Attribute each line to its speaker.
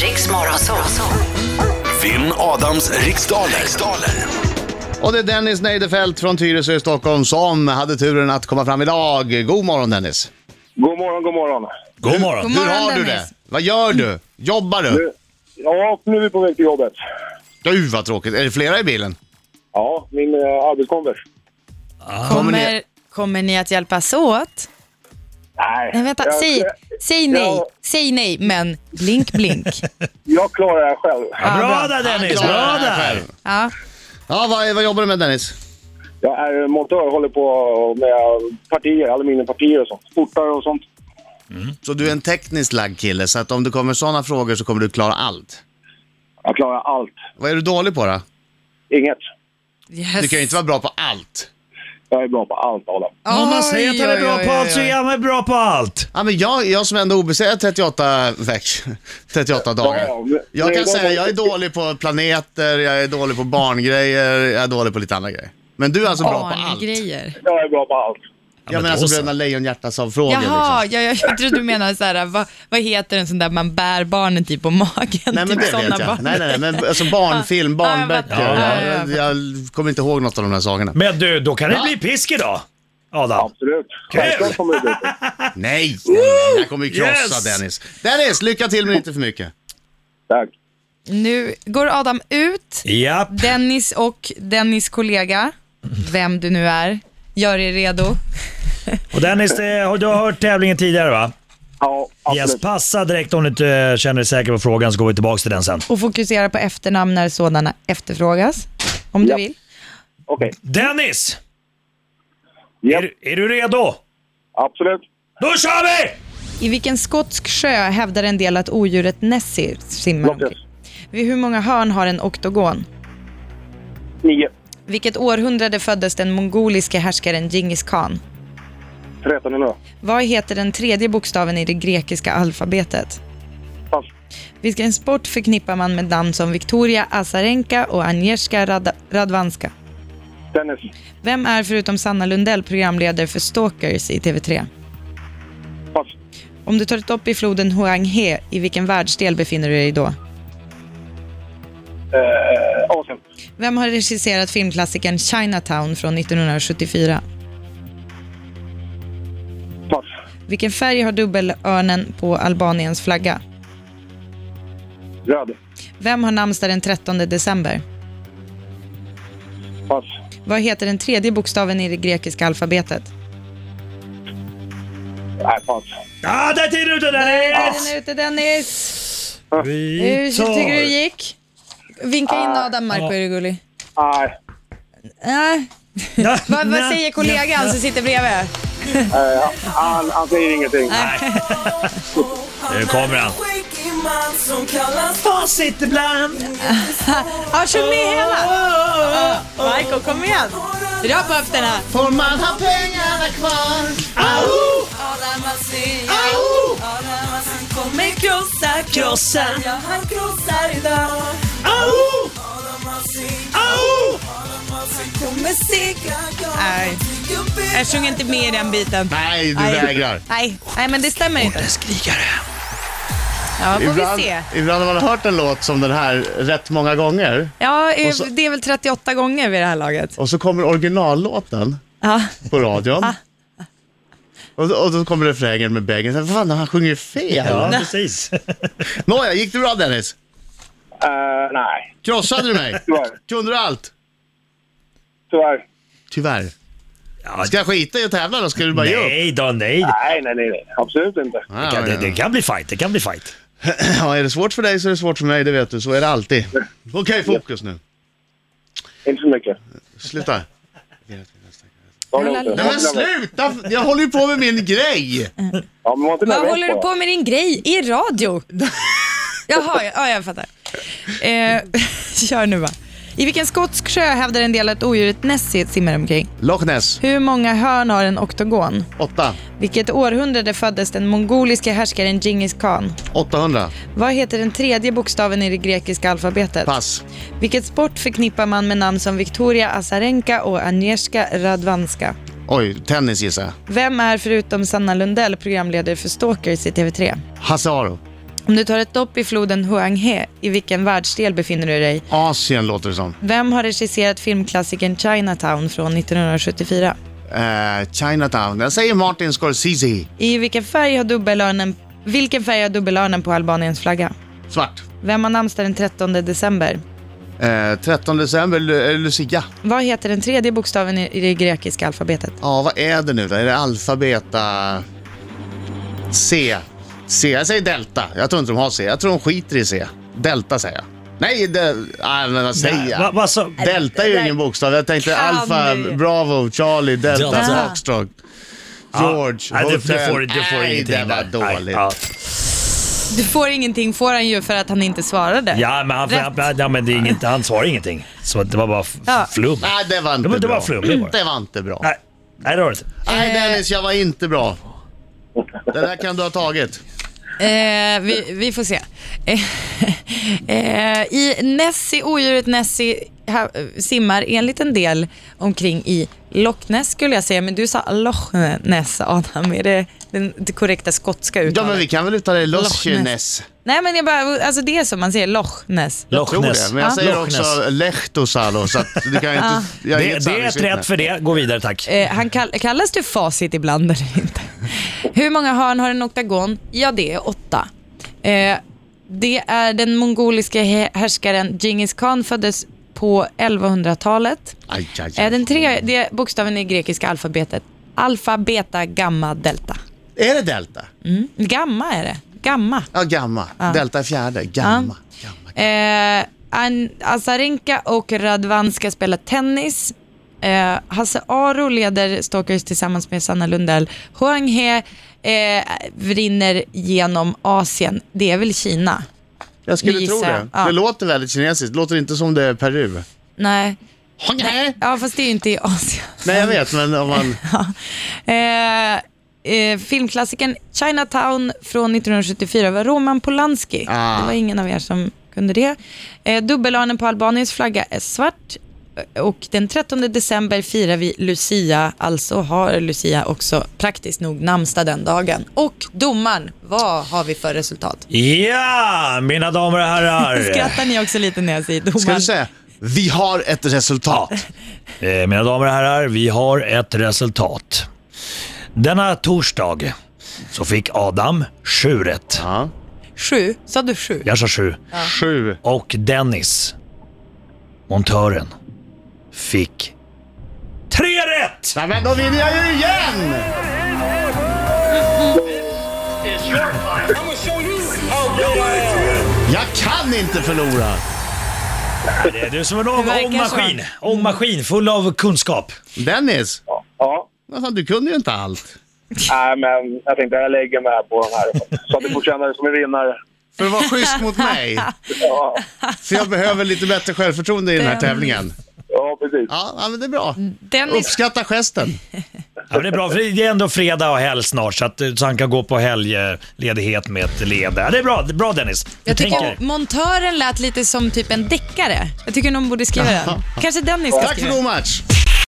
Speaker 1: Riks Morgonzoo.
Speaker 2: Vinn Adams riksdaler. riksdaler.
Speaker 3: Och det är Dennis Neidefelt från Tyresö i Stockholm som hade turen att komma fram idag. God morgon Dennis!
Speaker 4: God morgon, god morgon.
Speaker 5: God morgon.
Speaker 6: God morgon,
Speaker 3: Hur har du det?
Speaker 6: Dennis.
Speaker 3: Vad gör du? Jobbar du?
Speaker 4: Ja, nu är vi på väg till jobbet.
Speaker 3: Gud vad tråkigt. Är det flera i bilen?
Speaker 4: Ja, min eh, arbetskompis.
Speaker 3: Kommer ni-
Speaker 6: Kommer, kommer ni att hjälpas åt?
Speaker 4: Nej.
Speaker 6: Nej, vänta.
Speaker 4: jag,
Speaker 6: Säg, säg nej. Säg nej, men blink, blink.
Speaker 4: Jag klarar det här själv.
Speaker 6: Ja,
Speaker 5: Bra där Dennis, bra där!
Speaker 6: Ja.
Speaker 3: Ja, vad, vad jobbar du med Dennis?
Speaker 4: Jag är montör, håller på med partier, aluminiumpartier och sånt. Portar och sånt.
Speaker 3: Så du är en tekniskt lagd kille, så att om det kommer sådana frågor så kommer du klara allt.
Speaker 4: Jag klarar allt.
Speaker 3: Vad är du dålig på då?
Speaker 4: Inget.
Speaker 6: Yes.
Speaker 3: Du kan ju inte vara bra på allt.
Speaker 4: Jag är bra på allt, Adam.
Speaker 5: Om man säger att han är
Speaker 6: Oj, oj,
Speaker 5: bra på
Speaker 6: oj,
Speaker 5: allt så
Speaker 6: oj.
Speaker 5: är han bra på allt.
Speaker 3: Ja, men jag, jag som ändå är obesegrad 38 veck, 38 dagar.
Speaker 4: men-
Speaker 3: Jag kan
Speaker 4: men-
Speaker 3: säga jag är dålig på planeter, jag är dålig på barngrejer, jag är dålig på lite andra grejer. Men du är alltså bra på allt?
Speaker 6: Barngrejer.
Speaker 4: Jag är bra på allt.
Speaker 3: Ja, men
Speaker 5: då
Speaker 3: alltså
Speaker 5: så.
Speaker 3: Bröderna Lejonhjärtas av frågor liksom.
Speaker 6: Jaha, ja, ja, jag trodde du menade så här, vad, vad heter en sån där man bär barnen typ på magen?
Speaker 3: Nej men
Speaker 6: typ
Speaker 3: det vet
Speaker 6: såna
Speaker 3: jag.
Speaker 6: barn.
Speaker 3: Nej, nej, nej, men alltså barnfilm,
Speaker 6: Ja, jag
Speaker 3: barnböcker.
Speaker 6: fattar. Ja, ja,
Speaker 3: jag, jag kommer inte ihåg något av de där sakerna.
Speaker 5: Men du, då kan det bli pisk idag. Adam.
Speaker 4: Absolut. Självklart kommer det bli så.
Speaker 3: Nej, nej, nej, jag kommer ju krossa
Speaker 5: Yes!
Speaker 3: Dennis. Dennis, lycka till men inte för mycket.
Speaker 4: Tack.
Speaker 6: Nu går Adam ut.
Speaker 5: Japp.
Speaker 6: Dennis och Dennis kollega, vem du nu är, gör er redo.
Speaker 5: Och Dennis, eh, har- du har hört tävlingen tidigare va?
Speaker 4: Ja, absolut.
Speaker 5: Yes, passa direkt om du inte eh, känner dig säker på frågan så går vi tillbaka till den sen.
Speaker 6: Och fokusera på efternamn när sådana efterfrågas, om du
Speaker 4: Ja.
Speaker 6: vill.
Speaker 4: Okej.
Speaker 5: Dennis!
Speaker 4: Japp,
Speaker 5: Är, du- är du redo?
Speaker 4: Absolut.
Speaker 5: Då kör vi!
Speaker 6: I vilken skotsk sjö hävdar en del att odjuret Nessie simmar
Speaker 4: Locket.
Speaker 6: omkring? Vid hur många hörn har en oktogon?
Speaker 4: Nio.
Speaker 6: Vilket århundrade föddes den mongoliske härskaren Djingis khan?
Speaker 4: 13 nu.
Speaker 6: Vad heter den tredje bokstaven i det grekiska alfabetet?
Speaker 4: Pass.
Speaker 6: Vilken sport förknippar man med namn som Victoria Azarenka och Agnieszka Rad- Radwanska?
Speaker 4: Dennis.
Speaker 6: Vem är förutom Sanna Lundell programledare för Stalkers i TV3?
Speaker 4: Pass.
Speaker 6: Om du tar ett dopp i floden Huanghe, i vilken världsdel befinner du dig då?
Speaker 4: Eh, Asien.
Speaker 6: Vem har regisserat filmklassikern Chinatown från 1974?
Speaker 4: Pass.
Speaker 6: Vilken färg har dubbelörnen på Albaniens flagga?
Speaker 4: Röd.
Speaker 6: Vem har namnsdag den 13 december?
Speaker 4: Pass.
Speaker 6: Vad heter den tredje bokstaven i det grekiska alfabetet?
Speaker 4: Nej, pass.
Speaker 5: Ah, där är tiden ute Dennis!
Speaker 6: Den är ute Dennis!
Speaker 5: Vi
Speaker 6: Eh, Hur tycker du det
Speaker 5: tar... Ah,
Speaker 6: gick? Vinka in Adam Marko, är du gullig?
Speaker 4: Nej.
Speaker 6: Nej.
Speaker 5: Ja,
Speaker 6: Vad, vad
Speaker 5: nej.
Speaker 6: säger kollegan som sitter bredvid?
Speaker 4: Eh, han, han säger ingenting.
Speaker 5: Nu kommer han. Facit ibland.
Speaker 6: Ja, kör med
Speaker 5: Ah,
Speaker 6: hela! Marko, Ah, kom igen! Dra på höfterna!
Speaker 3: Får man ha pengarna kvar?
Speaker 5: Krossa.
Speaker 6: Nej. Jag sjunger inte med i den biten.
Speaker 3: Nej, du vägrar.
Speaker 6: Nej, nej men det stämmer inte.
Speaker 5: Skrikare.
Speaker 6: Ja, får
Speaker 3: Ibland,
Speaker 6: vi se.
Speaker 3: ibland har man hört en låt som den här rätt många gånger
Speaker 6: Ja, eh,
Speaker 3: så-
Speaker 6: det är väl 38 gånger vid det här laget.
Speaker 3: och så kommer originallåten
Speaker 6: Ja.
Speaker 3: på radion.
Speaker 6: Ah.
Speaker 3: Och, och då kommer refrängen med bägge. Vad fan, han sjunger ju fel.
Speaker 5: Ja, precis.
Speaker 3: Nåja, gick det bra Dennis?
Speaker 4: Eh, nej,
Speaker 3: Krossade du mig?
Speaker 4: tyvärr.
Speaker 3: Kunde du allt?
Speaker 4: Tyvärr.
Speaker 3: Tyvärr.
Speaker 5: Ja,
Speaker 3: Ska jag skita i att tävla då? Ska du bara ge upp?
Speaker 5: nej då, nej.
Speaker 4: Nej, nej, nej. nej. Absolut inte.
Speaker 3: Ah,
Speaker 5: Ja, det,
Speaker 3: ja.
Speaker 5: det kan bli fight, det kan bli fight.
Speaker 3: Ja, är det svårt för dig så är det svårt för mig, det vet du. Så är det alltid. Okej, fokus nu.
Speaker 4: Inte så mycket.
Speaker 3: Sluta.
Speaker 4: Ta det lugnt.
Speaker 3: Nej men sluta! Jag håller ju på med min grej!
Speaker 5: Mm.
Speaker 4: Ja, men var inte
Speaker 6: Vad
Speaker 4: nervös
Speaker 6: håller du
Speaker 4: bara.
Speaker 6: på med din grej i radio? Jaha, ja, ja jag fattar. Eh, kör nu va. I vilken skotsk sjö hävdar en del att odjuret Nessie simmar omkring?
Speaker 3: Loch Ness,
Speaker 6: Hur många hörn har en oktogon?
Speaker 3: 8.
Speaker 6: Vilket århundrade föddes den mongoliske härskaren Djingis khan?
Speaker 3: 800.
Speaker 6: Vad heter den tredje bokstaven i det grekiska alfabetet?
Speaker 3: Pass.
Speaker 6: Vilket sport förknippar man med namn som Victoria Azarenka och Agnieszka Radwanska?
Speaker 3: Oj, tennis gissar jag.
Speaker 6: Vem är förutom Sanna Lundell programledare för Stalkers i TV3?
Speaker 3: Hasse Aro.
Speaker 6: Om du tar ett dopp i floden Huanghe, i vilken världsdel befinner du dig?
Speaker 3: Asien låter det som.
Speaker 6: Vem har regisserat filmklassikern Chinatown från 1974?
Speaker 3: Eh, Chinatown. Jag säger Martin Scorsese.
Speaker 6: I vilken färg har dubbelörnen, vilken färg har dubbelörnen på Albaniens flagga?
Speaker 3: Svart.
Speaker 6: Vem har namnsdag den 13 december?
Speaker 3: Eh, 13 december, Lu- eh, Lucia.
Speaker 6: Vad heter den tredje bokstaven i i det grekiska alfabetet?
Speaker 3: Ja, vad är det nu då? Är det alfabeta... C. C. Jag säger delta. Jag tror inte de har C. Jag tror de skiter i C. Delta säger jag. Nej, de... Nej, men vad säger
Speaker 5: Va,
Speaker 3: jag?
Speaker 5: va, så,
Speaker 6: Äh,
Speaker 3: Delta är ju
Speaker 6: Nej.
Speaker 3: ingen bokstav. Jag tänkte
Speaker 6: Kan
Speaker 3: alfa,
Speaker 6: du?
Speaker 3: bravo, Charlie, delta,
Speaker 5: Delta.
Speaker 3: Foxtrot. George,
Speaker 5: nej, det, det
Speaker 3: Hotel.
Speaker 5: får, det får
Speaker 3: Nej,
Speaker 5: ingenting
Speaker 3: det var
Speaker 5: där.
Speaker 3: dåligt.
Speaker 5: Nej, ja.
Speaker 6: Du får ingenting får han ju för att han inte svarade.
Speaker 5: Ja, men han,
Speaker 6: Rätt.
Speaker 5: han, ja, men det är inget, han svarar ingenting. Så det var bara f-
Speaker 6: Ja.
Speaker 5: flum.
Speaker 3: Nej, det var inte
Speaker 5: Det var- det
Speaker 3: bra.
Speaker 5: var flummigt bara.
Speaker 3: Det var inte bra.
Speaker 5: Nej, nej det var det inte.
Speaker 6: Eh.
Speaker 3: Nej, Dennis, jag var inte bra. Det där kan du ha tagit.
Speaker 6: Eh, vi, vi får se. Eh, eh, I Nessie, odjuret Nessie ha, simmar enligt en del omkring i Loch Ness skulle jag säga, men du sa Loch Ness Adam. Är det den, det korrekta skotska uttalet?
Speaker 3: Ja, men vi kan väl uttala det Loch
Speaker 6: Loch Ness.
Speaker 3: Ness.
Speaker 6: Nej men jag bara, alltså det är som man säger, Loch Ness.
Speaker 5: Loch
Speaker 3: tror
Speaker 5: Ness.
Speaker 3: det, men jag
Speaker 5: Ja.
Speaker 3: säger
Speaker 5: Loch Ness.
Speaker 3: också Lehtosalo så att du kan ju inte... Jag är inget
Speaker 5: Det, det är ett
Speaker 3: sanningsvittne.
Speaker 5: rätt för det. Gå vidare tack.
Speaker 6: Eh, han kall, kallas du facit ibland eller inte? Hur många hörn har en oktagon? Ja, det är åtta. Eh, det är den mongoliska hä- härskaren Djingis khan föddes på 1100-talet.
Speaker 3: Aj, aj, aj.
Speaker 6: Eh, den tredje bokstaven i grekiska alfabetet. Alfa, beta, gamma, delta.
Speaker 3: Är det delta?
Speaker 6: Mm. Gamma är det. Gamma.
Speaker 3: Ja, gamma. Delta är fjärde. Gamma. gamma.
Speaker 6: Eh, An- Azarenka och Radvan ska spela tennis. Eh, Hasse Aro leder Stalkers tillsammans med Sanna Lundell. Huang He eh, rinner genom Asien. Det är väl Kina?
Speaker 3: Jag skulle
Speaker 6: gissar
Speaker 3: tro
Speaker 6: jag.
Speaker 3: det.
Speaker 6: Ja.
Speaker 3: Det låter väldigt kinesiskt. Det låter inte som det är Peru.
Speaker 6: Nej.
Speaker 3: Nej,
Speaker 6: Ja, fast det är ju inte i Asien.
Speaker 3: Nej jag vet, men om man...
Speaker 6: Eh, eh, filmklassikern Chinatown från 1974 var Roman Polanski.
Speaker 3: Ah.
Speaker 6: Det var ingen av er som kunde det. Eh, dubbelörnen på Albaniens flagga är svart. Eh, Och den 13 december firar vi Lucia, alltså har Lucia också praktiskt nog namnsdag den dagen. Och domaren, vad har vi för resultat?
Speaker 5: Ja, mina damer och herrar.
Speaker 6: Skrattar ni också lite när jag säger domaren?
Speaker 3: Eh. Ska du säga? Vi har ett resultat.
Speaker 5: Eh, Mina damer och herrar, vi har ett resultat. Denna torsdag så fick Adam sju rätt.
Speaker 3: Ja.
Speaker 6: Sju, sa du sju?
Speaker 5: Jag sa sju.
Speaker 3: Sju.
Speaker 5: Och Dennis, montören, fick tre rätt!
Speaker 3: Nej, men då vinner jag ju igen! Jag kan inte förlora.
Speaker 5: Det är du som en ång-
Speaker 6: Det verkar Mm.
Speaker 5: ångmaskin. Ångmaskin full av kunskap.
Speaker 3: Dennis,
Speaker 4: Ja.
Speaker 3: alltså, du kunde ju inte allt.
Speaker 4: Nej, men jag tänkte jag lägger mig här på den här. Så att du får känna dig som en vinnare.
Speaker 3: För att vara schysst mot mig.
Speaker 4: Ja,
Speaker 3: För jag behöver lite bättre självförtroende i den här tävlingen.
Speaker 4: ja precis.
Speaker 3: Ja, ja, men det är bra.
Speaker 6: Dennis,
Speaker 3: Uppskatta gesten.
Speaker 5: Ja, men det är bra, för det är ändå fredag och helg snart så, att, eh, så han kan gå på helgledighet med ett leende. Ja, det är bra, det är bra Dennis. Du
Speaker 6: jag tycker
Speaker 5: tänker.
Speaker 6: montören lät lite som typ en deckare. Jag tycker någon borde skriva den. Kanske Dennis ska
Speaker 3: Tack
Speaker 6: skriva
Speaker 3: för
Speaker 6: den.
Speaker 3: god match.